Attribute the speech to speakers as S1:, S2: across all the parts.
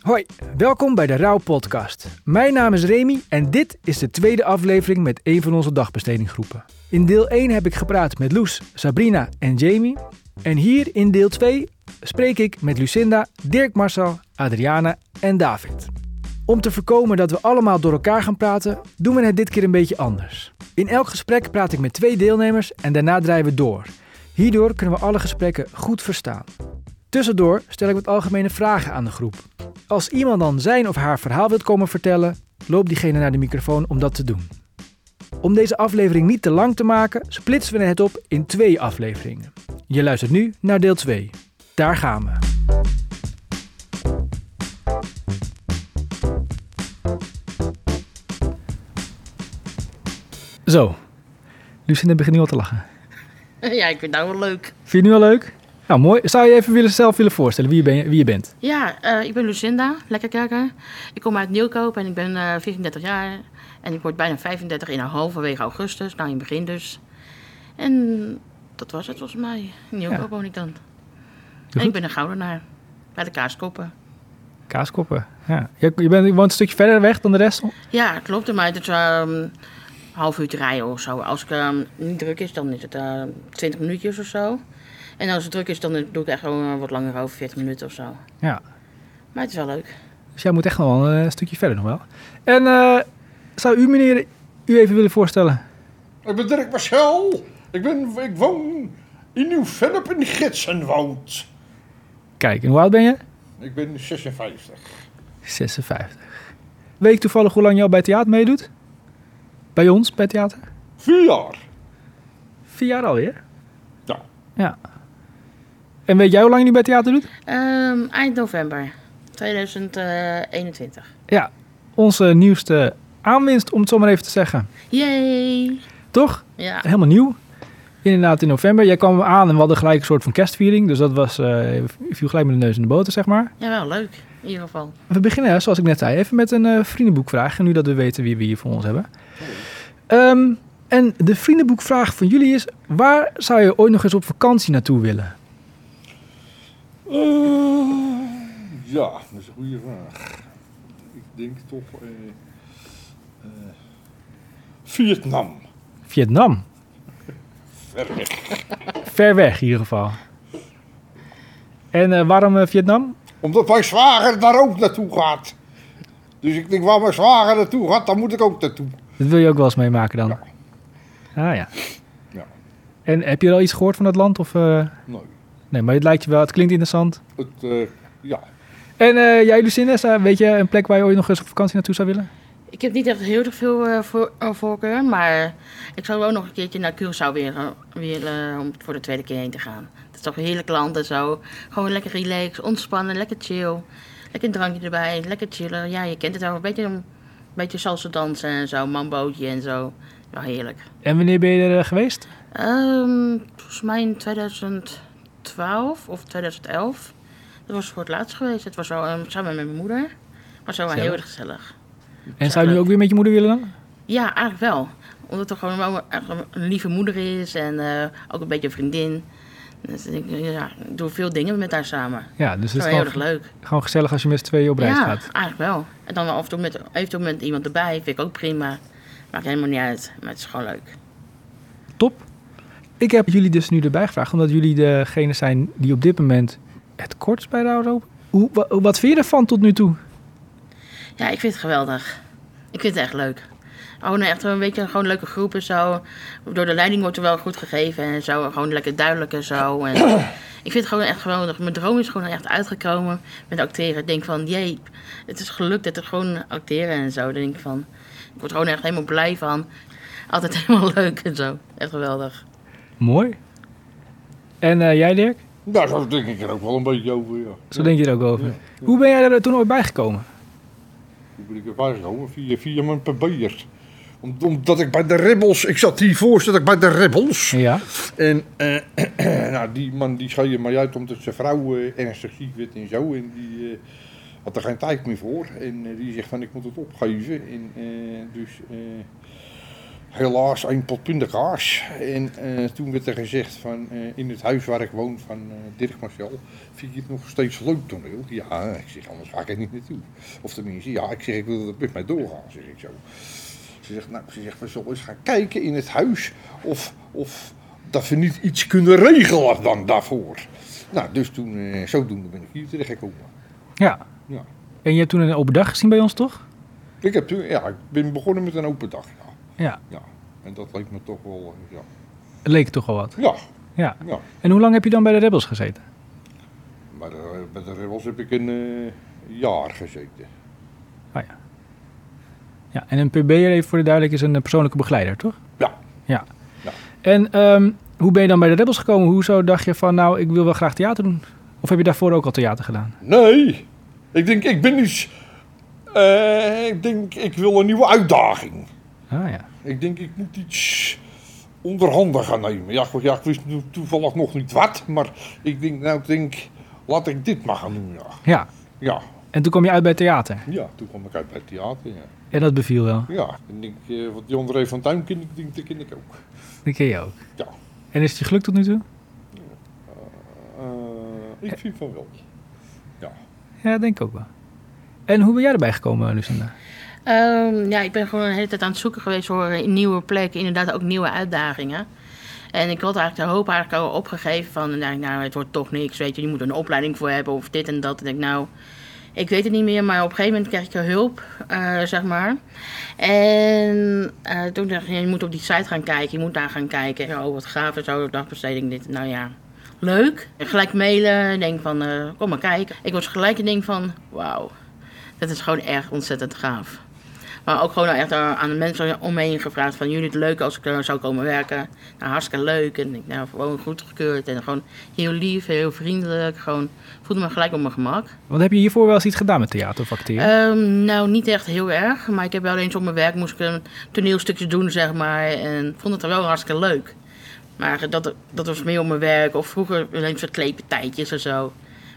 S1: Hoi, welkom bij de Rauw Podcast. Mijn naam is Remy en dit is de tweede aflevering met een van onze dagbestedinggroepen. In deel 1 heb ik gepraat met Loes, Sabrina en Jamie. En hier in deel 2 spreek ik met Lucinda, Dirk Marcel, Adriana en David. Om te voorkomen dat we allemaal door elkaar gaan praten, doen we het dit keer een beetje anders. In elk gesprek praat ik met twee deelnemers en daarna draaien we door. Hierdoor kunnen we alle gesprekken goed verstaan. Tussendoor stel ik wat algemene vragen aan de groep. Als iemand dan zijn of haar verhaal wilt komen vertellen, loopt diegene naar de microfoon om dat te doen. Om deze aflevering niet te lang te maken, splitsen we het op in twee afleveringen. Je luistert nu naar deel 2. Daar gaan we. Zo. Lucinda begint nu al te lachen.
S2: Ja, ik vind dat wel leuk.
S1: Vind je het nu al leuk? Nou, mooi. Zou je even willen, zelf willen voorstellen wie je, ben- wie je bent?
S2: Ja, eh, ik ben Lucinda, lekker kijken. Ik kom uit Nieuwkoop en ik ben eh 34 jaar. En ik word bijna 35 in halverwege augustus, nou in het begin dus. En dat was het volgens mij. In Nieuwkoop
S1: Ja.
S2: woon ik dan.
S1: goed.
S2: En ik ben een goudenaar, bij de kaaskoppen.
S1: Kaaskoppen. Ja. Je, je, bent, je woont een stukje verder weg dan de rest.
S2: Ja, klopt. Maar het is ehm, een half uur te rijden of zo. Als het ehm, niet druk is, dan is het eh 20 minuutjes of zo. En als het druk is, dan doe ik echt gewoon eh, wat langer over, 40 minuten of zo.
S1: Ja.
S2: Maar het is wel leuk.
S1: Dus jij moet echt nog wel een stukje verder nog wel. En eh, zou u meneer u even willen voorstellen?
S3: Ik ben Dirk Marcel. Ik, ben, ik woon in Nieuw-Vennep in Gidsenwoud.
S1: Kijk, en hoe oud ben je?
S3: Ik ben 56.
S1: 56. Weet je toevallig hoe lang je al bij theater meedoet? Bij ons, bij theater?
S3: Vier jaar.
S1: Vier jaar alweer.
S3: Ja.
S1: Ja. En weet jij hoe lang je nu bij theater doet?
S2: Ehm, eind november eh, 2021.
S1: Ja, onze nieuwste aanwinst, om het zo maar even te zeggen.
S2: Yay!
S1: Toch?
S2: Ja,
S1: Helemaal nieuw. Inderdaad, in november. Jij kwam aan en we hadden gelijk een soort van kerstviering. Dus dat was, eh viel gelijk met de neus in de boter, zeg maar.
S2: ja wel leuk in ieder geval.
S1: We beginnen, zoals ik net zei, even met een eh, vriendenboekvraag. Nu dat we weten wie we hier voor ons hebben. Ehm, en de vriendenboekvraag van jullie is... waar zou je ooit nog eens op vakantie naartoe willen?
S3: Eh, ja, dat is een goede vraag. Ik denk toch... eh, eh, Vietnam.
S1: Vietnam.
S3: Ver weg.
S1: Ver weg in ieder geval. En eh, waarom eh, Vietnam?
S3: Omdat mijn zwager daar ook naartoe gaat. Dus ik denk, waar mijn zwager naartoe gaat, dan moet ik ook naartoe.
S1: Dat wil je ook wel eens meemaken dan? Ah ja.
S3: Ja.
S1: En heb je al iets gehoord van dat land? Of, eh,
S3: Nee.
S1: Nee, maar het lijkt je wel, het klinkt interessant.
S3: Het, eh, ja.
S1: En eh, jij Lucinda, zou- weet je een plek waar je ooit nog eens op vakantie naartoe zou willen?
S2: Ik heb niet echt heel erg veel eh, voor, eh, voorkeur, maar ik zou wel nog een keertje naar Curaçao weer, eh, willen om voor de tweede keer heen te gaan. Dat is toch een heerlijk land en zo. Gewoon lekker relaxed, ontspannen, lekker chill. Lekker een drankje erbij, lekker chillen. Ja, je kent het wel. Een beetje, een beetje salsa dansen en zo, mambootje en zo. Wel heerlijk.
S1: En wanneer ben je er eh, geweest?
S2: Ehm, volgens mij in 2012 of 2011. Dat was voor het laatst geweest. Het was wel ehm, samen met mijn moeder. Maar zo wel heel
S1: Gezellig.
S2: erg gezellig.
S1: En zou je nu ook weer met je moeder willen dan?
S2: Ja, eigenlijk wel. Omdat er gewoon wel echt een een lieve moeder is en eh, ook een beetje een vriendin. Dus ik ja, ik doe veel dingen met haar samen.
S1: Ja, dus
S2: Dat
S1: het
S2: is
S1: is
S2: wel heel erg
S1: gewoon,
S2: leuk.
S1: gewoon gezellig als je met z'n tweeën op reis
S2: ja,
S1: gaat.
S2: eigenlijk wel. En dan af en toe met, eventueel met iemand erbij. Vind ik ook prima. Maakt helemaal niet uit. Maar het is gewoon leuk.
S1: Top. Ik heb jullie dus nu erbij gevraagd, omdat jullie degene zijn die op dit moment het kortst bij Rauw lopen. Hoe, wa- wat vind je ervan tot nu toe?
S2: Ja, ik vind het geweldig. Ik vind het echt leuk. Gewoon echt een beetje gewoon leuke groepen zo. Door de leiding wordt er wel goed gegeven en zo. Gewoon lekker duidelijk en zo. En ik vind het gewoon echt geweldig. Mijn droom is gewoon echt uitgekomen met acteren. Ik denk van, jee, het is gelukt dat er gewoon acteren en zo. Dan denk ik van, ik word gewoon echt helemaal blij van. Altijd helemaal leuk en zo. Echt geweldig.
S1: Mooi. En eh, jij Dirk?
S3: Nou, zo denk ik er ook wel een beetje over, ja.
S1: Zo denk je er ook over.
S3: Ja.
S1: Hoe ben jij er eh, toen ooit bij gekomen?
S3: Hoe ben ik erbij gekomen? Via, via mijn papier. Om- Omdat ik bij de Rebels... Ik zat hiervoor, zat ik bij de Rebels.
S1: Ja.
S3: En eh, nou, die man die schreef mij uit omdat zijn vrouw eh, ernstig ziek werd en zo. En die eh, had er geen tijd meer voor. En eh, die zegt van ik moet het opgeven. En eh, dus eh, helaas een pot pindakaas. En eh, toen werd er gezegd van eh, in het huis waar ik woon van eh, Dirk Marcel, vind je het nog steeds leuk toneel? Ja, ik zeg anders ga ik er niet naartoe. Of tenminste, ja, ik zeg ik wil dat het met mij doorgaan, zeg ik zo. Ze zegt, nou, ze zegt, we zullen eens gaan kijken in het huis of, of dat we niet iets kunnen regelen dan daarvoor. Nou, dus toen, eh, zodoende ben ik hier terechtgekomen.
S1: Ja.
S3: Ja.
S1: En je hebt toen een open dag gezien bij ons, toch?
S3: Ik, heb toen, ja, ik ben begonnen met een open dag, ja.
S1: Ja.
S3: ja. En dat leek me toch wel, eh, ja.
S1: Het leek toch al wat.
S3: Ja,
S1: Ja.
S3: ja.
S1: En hoe lang heb je dan bij de Rebels gezeten?
S3: Maar eh, bij de Rebels heb ik een eh, jaar gezeten.
S1: Ah ja. Ja, en een PB'er even voor de duidelijkheid is een eh, persoonlijke begeleider, toch?
S3: Ja.
S1: Ja.
S3: Ja.
S1: En ehm, hoe ben je dan bij de Rebels gekomen? Hoezo dacht je van, nou, ik wil wel graag theater doen? Of heb je daarvoor ook al theater gedaan?
S3: Nee, ik denk, ik ben iets... eh, ik denk, ik wil een nieuwe uitdaging.
S1: Ah ja.
S3: Ik denk, ik moet iets onderhanden gaan nemen. Ja, goed, ja, ik wist nu toevallig nog niet wat, maar ik denk, nou, ik denk, laat ik dit maar gaan doen, ja.
S1: Ja.
S3: Ja,
S1: En toen kwam je uit bij theater.
S3: ja toen kwam ik uit bij het theater, ja.
S1: En dat beviel wel.
S3: Ja, en ik, eh, wat die André van Duin ken, ik denk, dat ken ik ook.
S1: Dat ken je ook.
S3: Ja.
S1: En is het je gelukt tot nu toe?
S3: Eh, ik vind van wel.
S1: Ja, denk ik ook wel. En hoe ben jij erbij gekomen, Lucinda?
S2: Ehm, ja, ik ben gewoon een hele tijd aan het zoeken geweest voor eh, nieuwe plekken. Inderdaad, ook nieuwe uitdagingen. En ik had eigenlijk de hoop eigenlijk al opgegeven van... Nou, nou, het wordt toch niks, weet je. Je moet er een opleiding voor hebben of dit en dat. En ik denk, nou, ik weet het niet meer. Maar op een gegeven moment kreeg ik hulp, eh, zeg maar. En eh, toen dacht ik, ja, je moet op die site gaan kijken. Je moet daar gaan kijken. Oh, wat gaaf en zo. Dagbesteding, dit. Nou ja, leuk. En gelijk mailen. Ik Denk van, eh, kom maar kijken. Ik was gelijk en denk van, wauw. Dat is gewoon echt ontzettend gaaf. Maar ook gewoon echt eh, aan aan de mensen om me heen gevraagd van... jullie het leuk als ik er zou komen werken? Nou, hartstikke leuk. En ik nou, gewoon goedgekeurd. En gewoon heel lief, heel vriendelijk. Gewoon voelde me gelijk op mijn gemak.
S1: Want heb je hiervoor wel eens iets gedaan met theater of acteren?
S2: Ehm, nou, niet echt heel erg. Maar ik heb wel eens op mijn werk moest ik een toneelstukje doen, zeg maar. En vond het er wel hartstikke leuk. Maar dat, dat was meer op mijn werk. Of vroeger alleen verkleedpartijtjes en zo.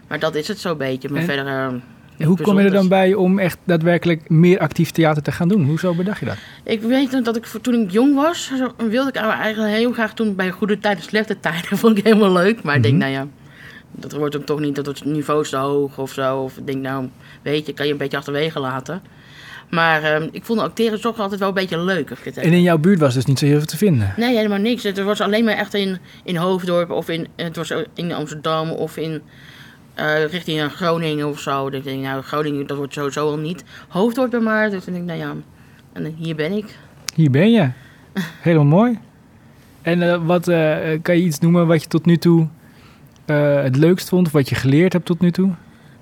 S2: Maar dat is het zo'n beetje. Maar
S1: En-
S2: verder... ehm,
S1: En hoe kom je er
S2: bijzonders.
S1: dan bij om echt daadwerkelijk meer actief theater te gaan doen? Hoezo bedacht je dat?
S2: Ik weet nog dat ik voor- toen ik jong was, zo- wilde ik eigenlijk heel graag toen bij goede tijden, slechte tijden. Vond ik helemaal leuk. Maar ik denk, nou ja, dat wordt hem toch niet, dat het niveau is te hoog of zo. Of ik denk, nou, weet je, kan je een beetje achterwege laten. Maar ehm, ik vond acteren toch altijd wel een beetje leuk. Of ik het
S1: En in jouw buurt was dus niet zo heel veel te vinden.
S2: Nee, helemaal niks. Het was alleen maar echt in, in Hoofddorp of in, het was in Amsterdam of in eh, richting eh, Groningen of zo. Dus ik denk, nou, Groningen, dat wordt sowieso al niet. Hoofddorp dan maar. Dus ik denk, nou ja, en hier ben ik.
S1: Hier ben je. Helemaal mooi. En eh, wat, eh, kan je iets noemen wat je tot nu toe eh, het leukst vond? Of wat je geleerd hebt tot nu toe?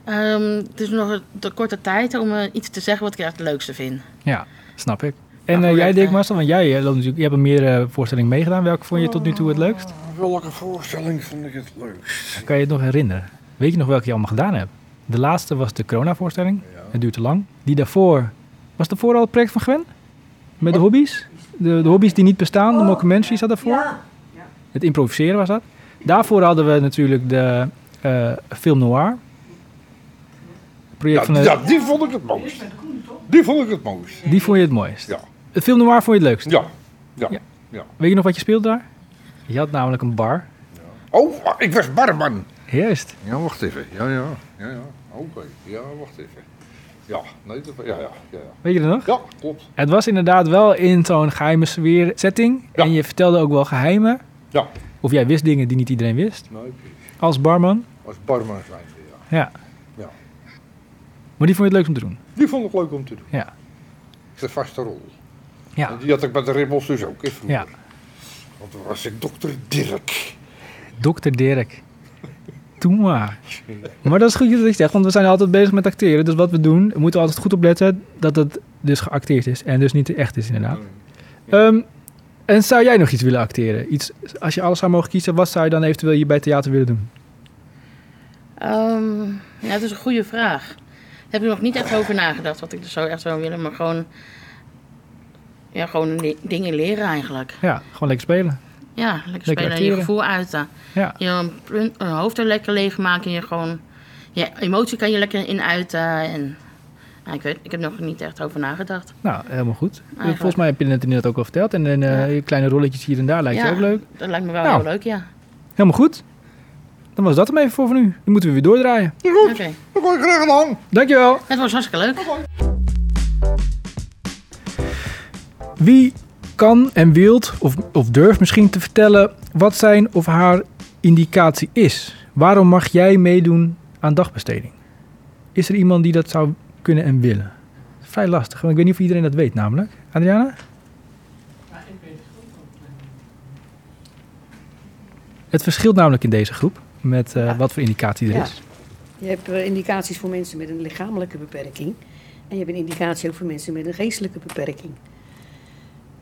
S2: Ehm, het is nog de korte tijd om eh, iets te zeggen wat ik echt het leukste vind.
S1: Ja, snap ik. En
S2: Nou,
S1: eh,
S2: goed,
S1: jij,
S2: eh,
S1: Dirk Marcel, want jij eh, loopt natuurlijk, je hebt een meerdere voorstellingen meegedaan. Welke vond je tot nu toe het leukst?
S3: Eh, Welke voorstelling vond ik het leukst?
S1: Kan je het nog herinneren? Weet je nog welke je allemaal gedaan hebt? De laatste was de corona-voorstelling.
S3: Ja.
S1: Het duurt te lang. Die daarvoor... Was daarvoor al het project van Gwen? Met de hobby's? De, de hobby's die niet bestaan. De mockumentary zat daarvoor. Het improviseren was dat. Daarvoor hadden we natuurlijk de eh, film noir. Het project
S3: Ja,
S1: van de,
S3: ja, die vond ik het mooist. Die vond ik het mooist.
S1: Die vond je het mooist.
S3: Ja.
S1: Het film noir vond je het leukst.
S3: Ja. ja.
S1: Ja. Weet je nog wat je speelde daar? Je had namelijk een bar.
S3: Oh, ah, ik was barman.
S1: Juist.
S3: Ja, wacht even. Ja, ja. ja, ja. Oké. Ja, wacht even. Ja, nee, dat, ja, ja, ja, ja.
S1: Weet je dat nog?
S3: Ja, klopt.
S1: Het was inderdaad wel in zo'n geheime sfeer setting.
S3: Ja.
S1: En je vertelde ook wel geheimen.
S3: Ja.
S1: Of jij wist dingen die niet iedereen wist.
S3: Nee, precies.
S1: Als barman.
S3: als barman zijn ja.
S1: Ja.
S3: Ja.
S1: Maar die vond je het leuk om te doen.
S3: Die vond ik leuk om te doen.
S1: Ja.
S3: De vaste rol.
S1: Ja.
S3: En Die had ik bij de Ribbels dus ook, hè,
S1: Ja.
S3: vroeger. Want toen was ik dokter Dirk.
S1: Dr. Dirk. Doe maar. Maar dat is goed dat je het zegt, want we zijn altijd bezig met acteren. Dus wat we doen, we moeten altijd goed opletten dat het dus geacteerd is. En dus niet echt is, inderdaad. Ehm, en zou jij nog iets willen acteren? Iets, als je alles zou mogen kiezen, wat zou je dan eventueel je bij theater willen doen?
S2: Ehm ja, dat is een goede vraag. Daar heb ik nog niet echt over nagedacht wat ik er zo echt zou willen. Maar gewoon, ja, gewoon le- dingen leren eigenlijk.
S1: Ja, gewoon lekker spelen.
S2: Ja, lekker, spelen en je
S1: acteren.
S2: gevoel uiten.
S1: Ja.
S2: Je een punt- een hoofd er lekker leeg maken en je gewoon... Je emotie kan je lekker in uiten en Ja, ik, weet, ik heb nog niet echt over nagedacht.
S1: Nou, helemaal goed.
S2: Eigenlijk.
S1: Volgens mij heb je het net ook al verteld. En, eh, kleine rolletjes hier en daar lijkt je
S2: Ja.
S1: ook leuk.
S2: Dat lijkt me wel
S1: Nou.
S2: heel leuk, ja.
S1: Helemaal goed. Dan was dat hem even voor van nu. Nu moeten we weer doordraaien.
S3: Is
S2: Oké,
S3: goed, dan gooi ik graag een hang.
S1: Dankjewel.
S2: het was hartstikke leuk.
S1: Wie kan en wilt of, of durft misschien te vertellen wat zijn of haar indicatie is? Waarom mag jij meedoen aan dagbesteding? Is er iemand die dat zou kunnen en willen? Vrij lastig, want ik weet niet of iedereen dat weet namelijk. Adriana? Het verschilt namelijk in deze groep met eh,
S4: Ja.
S1: wat voor indicatie er
S4: Ja.
S1: is.
S4: Je hebt eh, indicaties voor mensen met een lichamelijke beperking. En je hebt een indicatie ook voor mensen met een geestelijke beperking.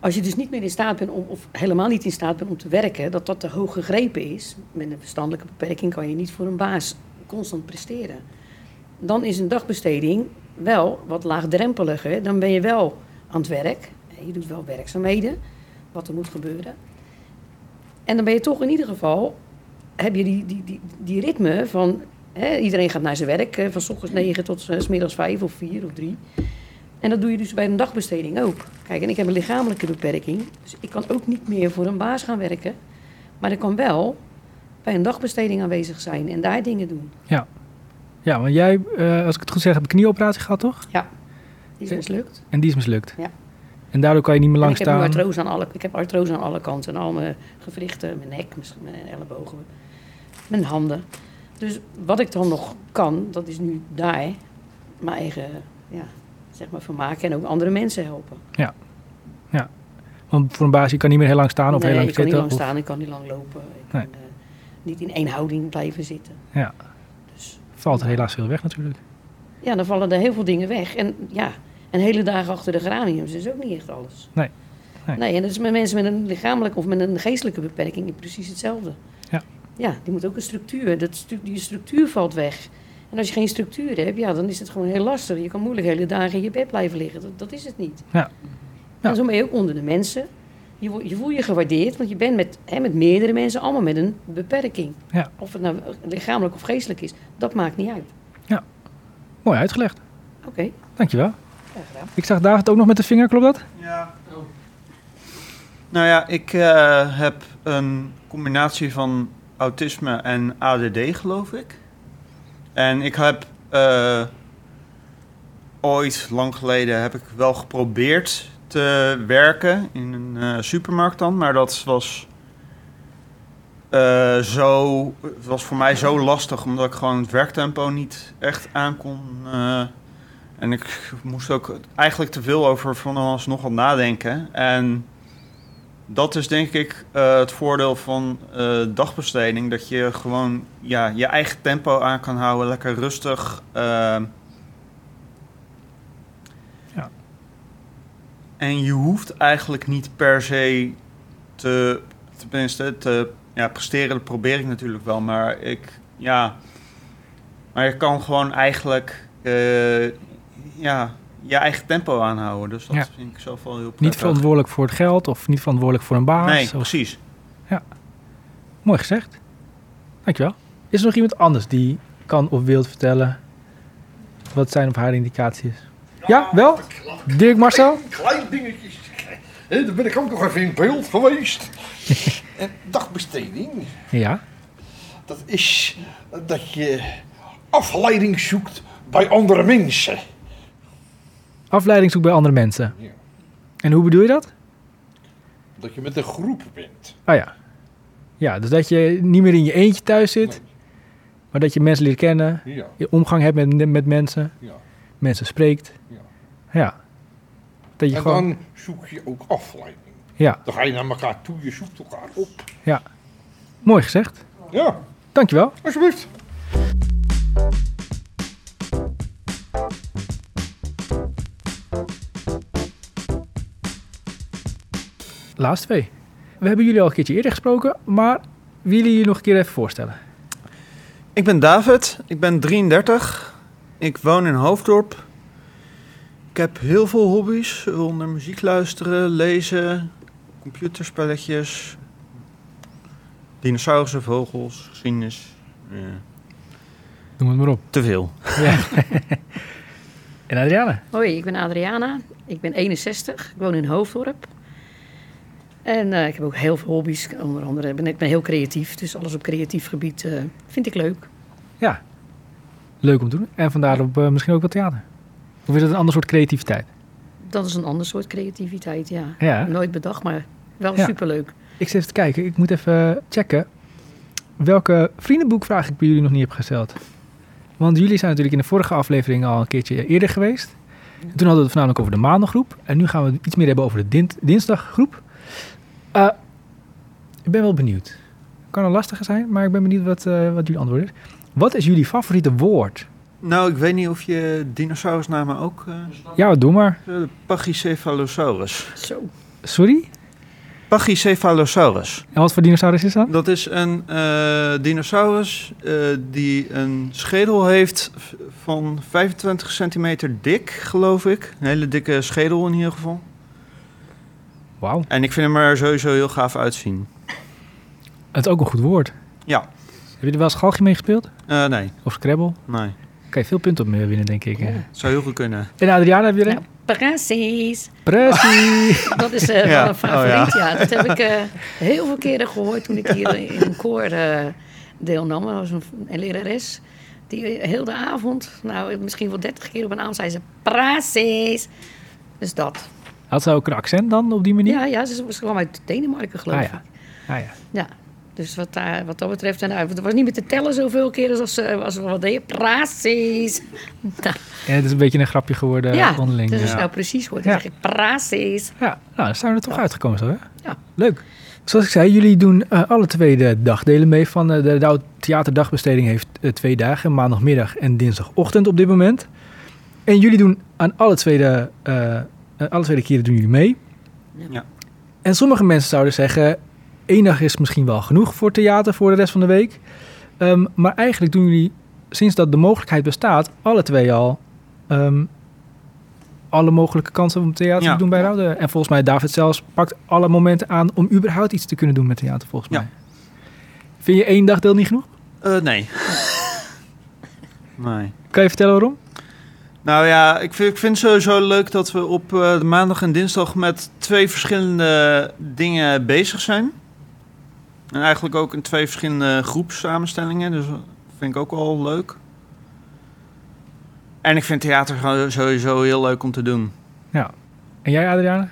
S4: Als je dus niet meer in staat bent om, of helemaal niet in staat bent om te werken, dat dat te hoog gegrepen is. Met een verstandelijke beperking kan je niet voor een baas constant presteren. Dan is een dagbesteding wel wat laagdrempeliger. Dan ben je wel aan het werk. Je doet wel werkzaamheden, wat er moet gebeuren. En dan ben je toch in ieder geval, heb je die, die, die, die ritme van Hè, iedereen gaat naar zijn werk, eh, van s ochtends 9 tot eh, s middags 5 of 4 of 3. En dat doe je dus bij een dagbesteding ook. Kijk, en ik heb een lichamelijke beperking, dus ik kan ook niet meer voor een baas gaan werken. Maar ik kan wel bij een dagbesteding aanwezig zijn en daar dingen doen.
S1: Ja, want jij, eh, als ik het goed zeg, heb een knieoperatie gehad, toch?
S4: Die is mislukt.
S1: En die is mislukt.
S4: Ja.
S1: En daardoor kan je niet meer
S4: En
S1: lang
S4: ik, heb nu
S1: staan.
S4: artrose aan alle, ik heb artrose aan alle kanten, aan al mijn gewrichten, mijn nek, misschien mijn ellebogen, mijn handen. Dus wat ik dan nog kan, dat is nu daar mijn eigen ja, zeg maar, vermaken en ook andere mensen helpen.
S1: Want voor een baas, je kan niet meer heel lang staan of
S4: nee,
S1: heel lang
S4: ik kan niet
S1: zitten.
S4: lang
S1: of-
S4: staan, ik kan niet lang lopen. Ik
S1: Nee.
S4: kan eh, niet in één houding blijven zitten.
S1: Ja.
S4: Dus
S1: Valt helaas veel weg natuurlijk.
S4: ja, dan vallen er heel veel dingen weg. En ja, en hele dagen achter de geraniums is ook niet echt alles.
S1: Nee. Nee.
S4: en dat is met mensen met een lichamelijke of met een geestelijke beperking precies hetzelfde.
S1: Ja.
S4: Ja, die moet ook een structuur. Dat stu- die structuur valt weg. En als je geen structuur hebt, ja, dan is het gewoon heel lastig. Je kan moeilijk hele dagen in je bed blijven liggen. Dat, dat is het niet.
S1: Ja. Ja.
S4: En zo ben je ook onder de mensen. Je, wo- je voelt je gewaardeerd, want je bent met, hè, met meerdere mensen allemaal met een beperking.
S1: Ja.
S4: Of het nou lichamelijk of geestelijk is, dat maakt niet uit.
S1: Mooi uitgelegd.
S4: Oké,
S1: Dankjewel.
S4: ja, gedaan.
S1: Ik zag David ook nog met de vinger, klopt dat?
S5: Ja. Nou ja, ik eh, heb een combinatie van autisme en ADD, geloof ik. En ik heb eh, ooit, lang geleden, heb ik wel geprobeerd te werken in een eh, supermarkt dan. Maar dat was, eh, zo, het was voor mij zo lastig, omdat ik gewoon het werktempo niet echt aan kon... eh, en ik moest ook eigenlijk te veel over van alles nog wat nadenken. En dat is denk ik eh, het voordeel van eh, dagbesteding. Dat je gewoon ja, je eigen tempo aan kan houden. Lekker rustig. ehm.
S1: Ja.
S5: En je hoeft eigenlijk niet per se te... Tenminste, te ja, presteren dat probeer ik natuurlijk wel. Maar ik... Ja, maar je kan gewoon eigenlijk eh, ja, je eigen tempo aanhouden. Dus dat
S1: Ja.
S5: vind ik zelf wel heel prettig.
S1: Niet verantwoordelijk voor het geld of niet verantwoordelijk voor een baas.
S5: Nee,
S1: Of-
S5: precies.
S1: Mooi gezegd. Dankjewel. Is er nog iemand anders die kan of wilt vertellen wat zijn of haar indicatie is? Ja, wel? Dirk Marcel?
S3: Klein dingetjes. Hè, Daar ben ik ook nog even in beeld geweest. en dagbesteding,
S1: Ja.
S3: dat is dat je afleiding zoekt bij andere mensen.
S1: Afleiding zoeken bij andere mensen.
S3: Ja.
S1: En hoe bedoel je dat?
S3: Dat je met een groep bent.
S1: Ah ja. Ja, dus dat je niet meer in je eentje thuis zit, maar dat je mensen leert kennen,
S3: Ja,
S1: je omgang hebt met, met mensen,
S3: ja.
S1: mensen spreekt.
S3: Ja.
S1: Ja. Dat je
S3: En
S1: gewoon.
S3: dan zoek je ook afleiding.
S1: Ja,
S3: Dan ga je naar elkaar toe, je zoekt elkaar op.
S1: mooi gezegd.
S3: Ja,
S1: Dankjewel.
S3: alsjeblieft.
S1: Laatste twee. We hebben jullie al een keertje eerder gesproken, maar willen jullie nog een keer even voorstellen?
S5: Ik ben David, ik ben 33. Ik woon in Hoofddorp. Ik heb heel veel hobby's, onder muziek luisteren, lezen, computerspelletjes, dinosaurussen, vogels, geschiedenis. Eh,
S1: Noem het maar op.
S5: te veel.
S1: Ja. En Adriana.
S4: Hoi, ik ben Adriana. Ik ben 61. Ik woon in Hoofddorp. En eh, ik heb ook heel veel hobby's. Onder andere ben ik ben heel creatief. Dus alles op creatief gebied eh, vind ik leuk.
S1: Ja, leuk om te doen. En vandaar op eh, misschien ook wat theater. Of is het een ander soort creativiteit?
S4: Dat is een ander soort creativiteit, ja.
S1: Ja.
S4: Nooit bedacht, maar wel
S1: Ja.
S4: superleuk.
S1: Ik zit even te kijken. Ik moet even checken welke vriendenboekvraag ik bij jullie nog niet heb gesteld. Want jullie zijn natuurlijk in de vorige aflevering al een keertje eerder geweest. Toen hadden we het voornamelijk over de maandaggroep. En nu gaan we het iets meer hebben over de din- dinsdaggroep. Eh, ik ben wel benieuwd. Kan een lastige zijn, maar ik ben benieuwd wat, eh, wat jullie antwoord is. Wat is jullie favoriete woord?
S5: Nou, ik weet niet of je dinosaurusnamen ook... eh
S1: Ja, doe maar.
S5: de Pachycephalosaurus.
S4: Zo.
S1: Sorry?
S5: Pachycephalosaurus.
S1: En wat voor dinosaurus is dat?
S5: Dat is een eh, dinosaurus eh, die een schedel heeft v- van 25 centimeter dik, geloof ik. Een hele dikke schedel in ieder geval.
S1: Wauw.
S5: En ik vind hem er sowieso heel gaaf uitzien.
S1: Het is ook een goed woord.
S5: Ja.
S1: Heb je er wel eens galgje mee gespeeld?
S5: Eh, nee,
S1: Of Scrabble?
S5: nee.
S1: Kan je veel punten op mee winnen, denk ik. eh.
S5: Het zou heel goed kunnen.
S1: En Adriana, heb je er
S4: Nou,
S1: een?
S4: precies.
S1: Precies.
S4: Dat is eh,
S5: Ja.
S4: wel een
S5: Oh,
S4: favoriet, ja. Dat heb ik eh, heel veel keren gehoord toen ik hier in een koor eh, deelnam. Er was een, een lerares die heel de avond, nou misschien wel dertig keer op een avond, zei ze precies. Dus dat.
S1: Had ze ook een accent dan op die manier?
S4: Ja, ja ze, ze kwam uit Denemarken geloof
S1: Ah,
S4: ik.
S1: ja. Ah, ja.
S4: Ja. Dus wat, daar, wat dat betreft, en, nou, het was niet meer te tellen zoveel keren als ze, als we wat deden. Precies. Nou,
S1: En het is een beetje een grapje geworden eh,
S4: ja,
S1: onderling.
S4: dus als
S1: ja.
S4: je nou precies hoort, dan
S1: Ja.
S4: zeg ik precies.
S1: Ja, nou, dan zijn we er toch uitgekomen zo, hè?
S4: Ja.
S1: Leuk. Zoals ik zei, jullie doen eh, alle twee de dagdelen mee van eh, de Douw Theaterdagbesteding heeft eh, twee dagen, maandagmiddag en dinsdagochtend op dit moment. En jullie doen aan alle twee de, eh, eh, alle twee de keren doen jullie mee.
S5: Ja.
S1: En sommige mensen zouden zeggen, één dag is misschien wel genoeg voor theater voor de rest van de week. Ehm, maar eigenlijk doen jullie, sinds dat de mogelijkheid bestaat, alle twee al ehm, alle mogelijke kansen om theater
S5: Ja.
S1: te doen bij Raude. En volgens mij, David zelfs pakt alle momenten aan om überhaupt iets te kunnen doen met theater, volgens
S5: Ja.
S1: mij. Vind je één dagdeel niet genoeg?
S5: Eh, nee. nee.
S1: Kan je vertellen waarom?
S5: Nou ja, ik vind, ik vind het sowieso leuk dat we op eh, de maandag en dinsdag met twee verschillende dingen bezig zijn. En eigenlijk ook in twee verschillende groepssamenstellingen. Dus dat vind ik ook wel leuk. En ik vind theater gewoon sowieso heel leuk om te doen.
S1: Ja. En jij, Adriana?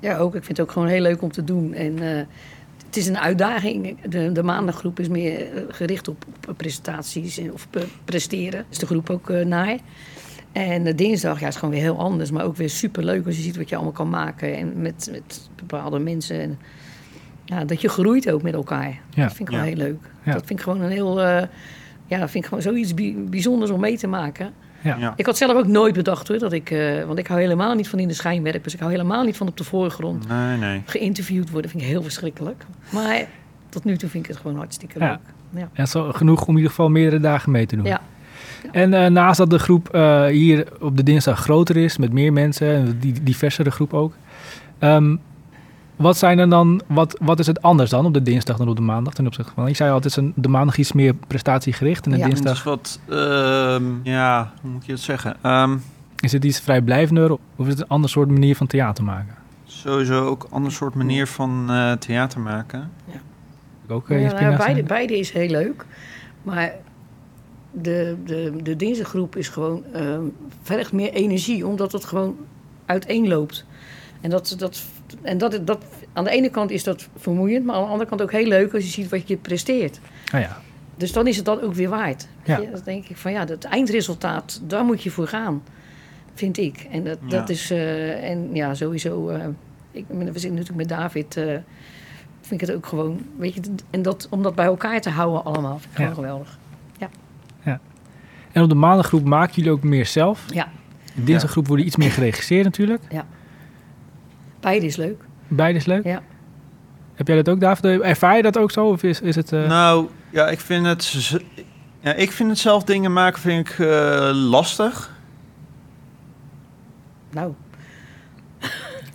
S4: Ja, ook. Ik vind het ook gewoon heel leuk om te doen. En eh, het is een uitdaging. De, de maandaggroep is meer eh, gericht op, op presentaties en- of pre- presteren. Is de groep ook eh, naar. En eh, dinsdag ja, is gewoon weer heel anders, maar ook weer superleuk als je ziet wat je allemaal kan maken en met, met bepaalde mensen. En, ja, dat je groeit ook met elkaar.
S1: Ja.
S4: Dat vind ik gewoon
S5: Ja.
S4: heel leuk.
S1: Ja.
S4: Dat vind ik gewoon een heel, eh, ja, dat vind ik gewoon zoiets bi- bijzonders om mee te maken.
S1: Ja.
S5: Ja.
S4: Ik had zelf ook nooit bedacht hoor, dat ik, eh, want ik hou helemaal niet van in de schijnwerpers. Ik hou helemaal niet van op de voorgrond
S5: Nee, nee.
S4: geïnterviewd worden vind ik heel verschrikkelijk. Maar tot nu toe vind ik het gewoon hartstikke
S1: Ja.
S4: leuk. Ja.
S1: En zo genoeg om in ieder geval meerdere dagen mee te doen.
S4: Ja.
S1: En eh, naast dat de groep eh, hier op de dinsdag groter is, met meer mensen, een die diversere groep ook. ehm, wat zijn er dan, wat, wat is het anders dan op de dinsdag dan op de maandag ten opzichte van? Ik zei altijd, het is een- de maandag iets meer prestatiegericht en de
S4: Ja.
S5: Het
S1: dinsdag
S5: is wat, ehm, ja, hoe moet je dat zeggen? Ehm,
S1: is het iets vrijblijvender of is het een ander soort manier van theater maken?
S5: sowieso ook een ander soort manier van eh, theater maken.
S1: Vind ik Ook,
S4: Ja,
S1: eh,
S4: nou,
S1: inspiratie.
S4: beide, beide is heel leuk. Maar de, de, de dinsdaggroep is gewoon ehm, vergt meer energie, omdat het gewoon uiteenloopt. En, dat, dat, en dat, dat, aan de ene kant is dat vermoeiend, maar aan de andere kant ook heel leuk als je ziet wat je presteert.
S1: Ah ja.
S4: Dus dan is het dan ook weer waard.
S1: Ja.
S4: Ja. Dan denk ik van ja, dat eindresultaat, daar moet je voor gaan. Vind ik. En dat, dat
S5: Ja.
S4: is, eh, en ja, sowieso. eh, ik, ben- we zitten natuurlijk met David. eh, vind ik het ook gewoon, weet je, en dat, om dat bij elkaar te houden allemaal, vind ik
S1: Ja.
S4: gewoon geweldig.
S1: En op de maandaggroep maken jullie ook meer zelf.
S4: Ja,
S1: De dinsdaggroep wordt iets meer geregisseerd natuurlijk.
S4: beide is leuk.
S1: Beide is leuk.
S4: Ja.
S1: Heb jij dat ook, David? Ervaar je dat ook zo? Of is, is het... eh,
S5: Nou, ja, ik vind het... z- Ja, ik vind het zelf dingen maken vind ik eh, lastig.
S4: Nou,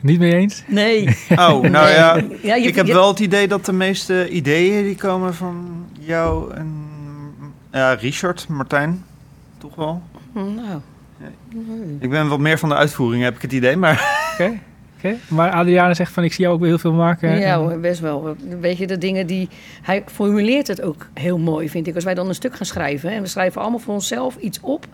S1: Niet mee eens?
S4: nee.
S5: Oh, nou ja.
S4: ja je,
S5: Ik heb
S4: je-
S5: wel het idee dat de meeste ideeën die komen van jou en ja, Richard, Martijn, toch wel?
S4: Nou,
S5: Ik ben wat meer van de uitvoering, heb ik het idee. Maar
S1: Oké. oké. Maar Adriana zegt van, ik zie jou ook weer heel veel maken.
S4: Ja,
S1: En-
S4: hoor, best wel. Weet je, de dingen die... Hij formuleert het ook heel mooi, vind ik. Als wij dan een stuk gaan schrijven... hè, en we schrijven allemaal voor onszelf iets op...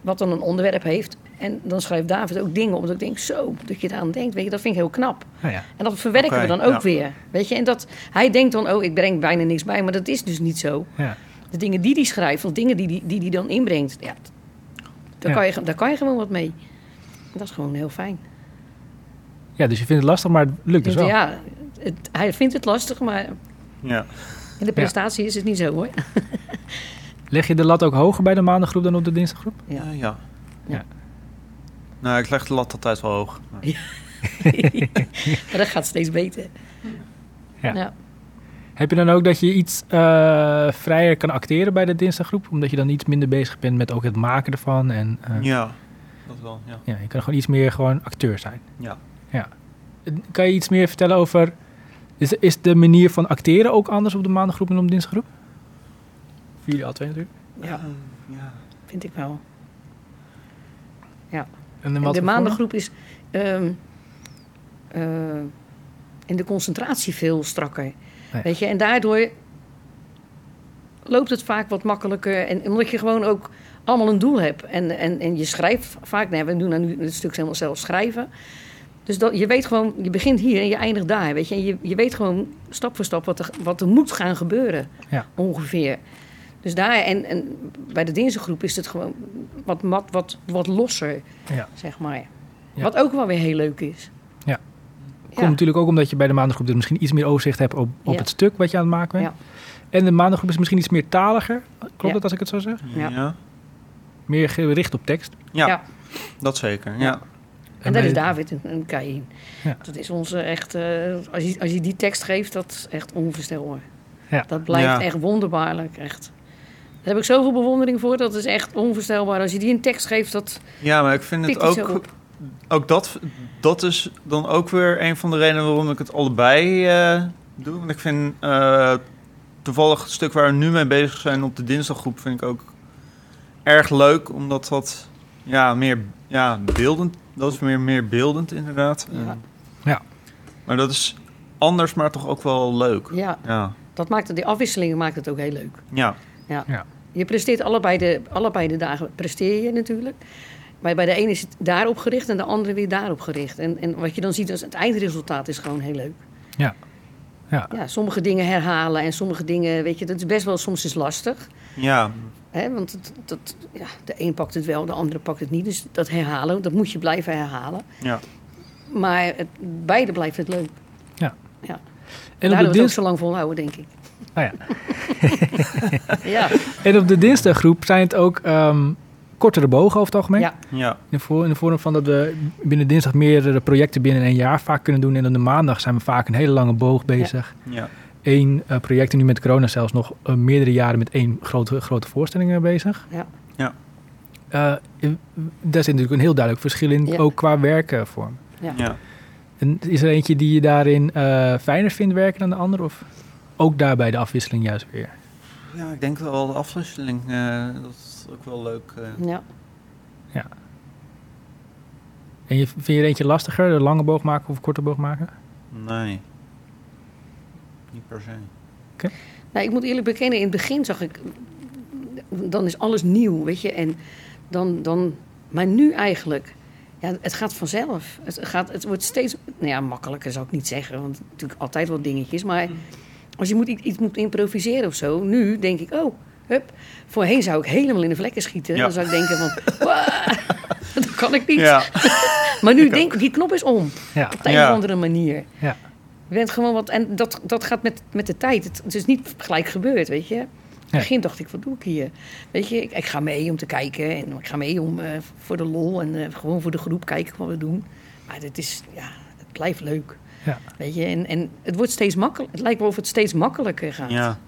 S4: wat dan een onderwerp heeft... en dan schrijft David ook dingen omdat ik denk... zo, dat je eraan denkt. Weet je, dat vind ik heel knap.
S1: Nou ja.
S4: En dat verwerken
S5: Oké,
S4: we dan ook
S5: ja.
S4: weer. Weet je, en dat... Hij denkt dan, oh, ik breng bijna niks bij. Maar dat is dus niet zo.
S1: ja.
S4: De dingen die hij schrijft... of dingen die hij die, die dan inbrengt... Ja, daar,
S1: Ja.
S4: Kan je, daar kan je gewoon wat mee. En dat is gewoon heel fijn.
S1: ja, dus je vindt het lastig, maar het lukt dus wel.
S4: ja, het- hij vindt het lastig, maar...
S5: ja.
S4: In de prestatie is het niet zo hoor.
S1: Leg je de lat ook hoger bij de maandaggroep dan op de dinsdaggroep?
S4: Ja.
S5: Eh, ja.
S1: Ja.
S5: Nou, ik leg de lat altijd wel hoog.
S4: Maar dat gaat steeds beter.
S1: Ja. Heb je dan ook dat je iets eh, vrijer kan acteren bij de dinsdaggroep? Omdat je dan iets minder bezig bent met ook het maken ervan. En, eh, ja.
S5: Ja, dat wel. Ja.
S1: je kan gewoon iets meer gewoon acteur zijn.
S5: Ja.
S1: ja. Kan je iets meer vertellen over... Is, is de manier van acteren ook anders op de maandaggroep en op de dinsdaggroep? Voor jullie al twee natuurlijk.
S4: Ja,
S5: ja.
S4: vind ik wel.
S1: En,
S4: En
S1: wat
S4: de
S1: voor
S4: maandengroep is ehm, eh, in de concentratie veel strakker.
S1: Ja.
S4: Weet je, en daardoor loopt het vaak wat makkelijker. En omdat je gewoon ook allemaal een doel hebt. En, en, en je schrijft vaak, nee, we doen dan nu het stuk helemaal zelf schrijven. Dus dat, je weet gewoon, je begint hier en je eindigt daar. Weet je, en je, je weet gewoon stap voor stap wat er, wat er moet gaan gebeuren.
S1: Ja.
S4: Ongeveer. Dus daar, en, en bij de dinsdaggroep is het gewoon wat, wat, wat, wat losser,
S1: Ja.
S4: zeg maar.
S1: Ja.
S4: Wat ook wel weer heel leuk is.
S1: Ja.
S4: Ja.
S1: Komt natuurlijk ook omdat je bij de maandaggroep er misschien iets meer overzicht hebt op, op
S4: Ja.
S1: het stuk wat je aan het maken bent. En de maandaggroep is misschien iets meer taliger. Klopt
S4: Ja.
S1: dat als ik het zo zeg?
S4: Ja.
S5: Ja. Ja.
S1: Meer gericht op tekst.
S4: Ja.
S5: dat zeker. Ja.
S4: En daar
S1: bij-
S4: is David een, een kei in.
S1: Ja.
S4: Dat is onze echt, eh, als, je, als je die tekst geeft, dat is echt onvoorstelbaar.
S1: Ja.
S4: Dat blijft
S5: Ja.
S4: echt wonderbaarlijk, echt. Daar heb ik zoveel bewondering voor, dat is echt onvoorstelbaar. Als je die een tekst geeft, dat
S5: Ja, maar ik vind het
S4: pikt hij zo
S5: ook...
S4: op.
S5: Ook dat, dat is dan ook weer een van de redenen waarom ik het allebei eh, doe. Want ik vind eh, toevallig het stuk waar we nu mee bezig zijn op de dinsdaggroep... vind ik ook erg leuk, omdat dat ja, meer ja, beeldend... Dat is meer, meer beeldend, inderdaad. Eh,
S4: Ja.
S1: Ja.
S5: Maar dat is anders, maar toch ook wel leuk.
S4: Ja,
S5: Ja,
S4: dat maakt het, die afwisselingen maakt het ook heel leuk.
S5: ja.
S4: Je presteert allebei de, allebei de dagen, presteer je natuurlijk. Maar bij de ene is het daarop gericht en de andere weer daarop gericht. En, en wat je dan ziet als het eindresultaat is gewoon heel leuk.
S1: Ja. Ja.
S4: ja. Sommige dingen herhalen en sommige dingen, weet je, dat is best wel soms is lastig.
S5: ja.
S4: Hè? Want het, dat, ja, de een pakt het wel, de andere pakt het niet. Dus dat herhalen, dat moet je blijven herhalen.
S5: ja.
S4: Maar het, beide blijft het leuk.
S1: Ja.
S4: ja.
S1: En op, de
S4: Daardoor het ook
S1: dins...
S4: zo lang volhouden, denk ik.
S1: nou ja.
S4: Ja,
S1: en op de dinsdaggroep zijn het ook ehm, kortere bogen over het algemeen.
S4: ja.
S5: ja.
S1: In, de voor- in de vorm van dat we binnen dinsdag meerdere projecten binnen een jaar vaak kunnen doen. En dan de maandag zijn we vaak een hele lange boog bezig.
S5: Ja,
S1: Eén eh, project en nu met corona zelfs nog eh, meerdere jaren met één grote, grote voorstelling eh, bezig.
S4: Ja.
S5: Ja.
S1: Eh, in- daar zit natuurlijk een heel duidelijk verschil in,
S4: Ja.
S1: ook qua werkenvorm.
S5: ja.
S1: En is er eentje die je daarin eh, fijner vindt werken dan de ander? Of ook daarbij de afwisseling juist weer?
S5: ja ik denk wel de afwisseling, eh, dat is ook wel leuk. eh.
S4: ja.
S1: En je, vind je er eentje lastiger, de lange boog maken of korte boog maken?
S5: Nee. Niet per se.
S4: Nou, ik moet eerlijk bekennen, in het begin zag ik... Dan is alles nieuw, weet je. En dan, dan, maar nu eigenlijk... Ja, het gaat vanzelf. Het, gaat, het wordt steeds... Nou ja, makkelijker zou ik niet zeggen. Want natuurlijk altijd wel dingetjes. Maar als je moet, i- iets moet improviseren of zo... Nu denk ik, oh, hup. Voorheen zou ik helemaal in de vlekken schieten.
S5: Ja.
S4: Dan zou ik denken van... "Wah, dat kan ik niet.
S5: Ja,
S4: Maar nu denk ik, die knop is om.
S1: Ja,
S4: Op de een
S5: Ja.
S4: of andere manier.
S1: ja,
S4: Je bent gewoon wat. En dat, dat gaat met, met de tijd. Het, het is niet gelijk gebeurd, weet je. In
S1: Nee.
S4: het begin dacht ik, wat doe ik hier? Weet je, ik, ik ga mee om te kijken. En ik ga mee om eh, voor de lol. En eh, gewoon voor de groep kijken wat we doen. Maar het is, ja, het blijft leuk.
S1: ja.
S4: Weet je, en, en het wordt steeds makkelijker. Het lijkt wel of het steeds makkelijker gaat.
S5: ja.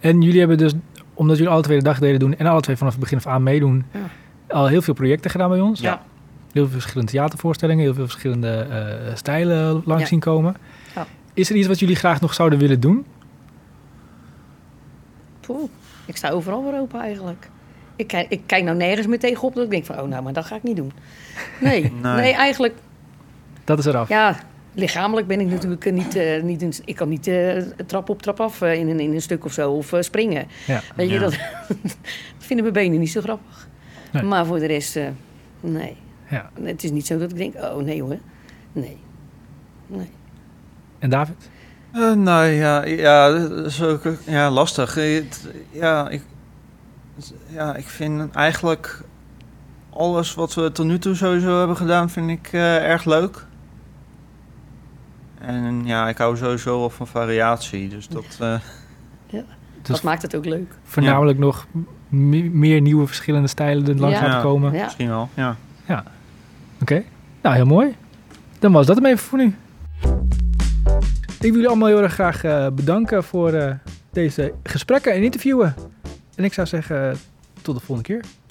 S1: En jullie hebben dus, omdat jullie alle twee de dagdelen doen en alle twee vanaf het begin af aan meedoen,
S4: Ja.
S1: al heel veel projecten gedaan bij ons.
S4: Ja.
S1: Heel veel verschillende theatervoorstellingen, heel veel verschillende eh, stijlen langs
S4: Ja.
S1: zien komen.
S4: Ja.
S1: Is er iets wat jullie graag nog zouden willen doen?
S4: Poeh, ik sta overal weer open eigenlijk. Ik kijk, ik kijk nou nergens meer tegenop dat ik denk van, oh nou, maar dat ga ik niet doen. Nee, nee. eigenlijk,
S1: Dat is eraf.
S4: ja, lichamelijk ben ik natuurlijk eh, niet, eh, niet een- ik kan niet eh, trap op trap af eh, in, een, in een stuk of zo, of eh, springen.
S1: Ja.
S4: Weet je,
S5: Ja.
S4: dat, dat vinden mijn benen niet zo grappig.
S1: Nee.
S4: Maar voor de rest, eh, nee.
S1: Ja.
S4: Het is niet zo dat ik denk, oh nee hoor, nee. Nee.
S1: En David?
S5: Eh, nou ja, ja, dat is ook, eh, ja lastig. Eh, het- Ja ik, ja, ik vind eigenlijk alles wat we tot nu toe sowieso hebben gedaan, vind ik eh, erg leuk. En ja, ik hou sowieso wel van variatie. Dus dat, eh,
S4: Dat maakt het ook leuk.
S1: Voornamelijk nog me- meer nieuwe verschillende stijlen er langs
S4: Ja.
S1: gaan komen.
S4: Ja.
S5: misschien wel. Ja.
S1: Oké, nou heel mooi. Dan was dat hem even voor nu. Ik wil jullie allemaal heel erg graag eh, bedanken voor eh, deze gesprekken en interviewen. En ik zou zeggen, eh, tot de volgende keer.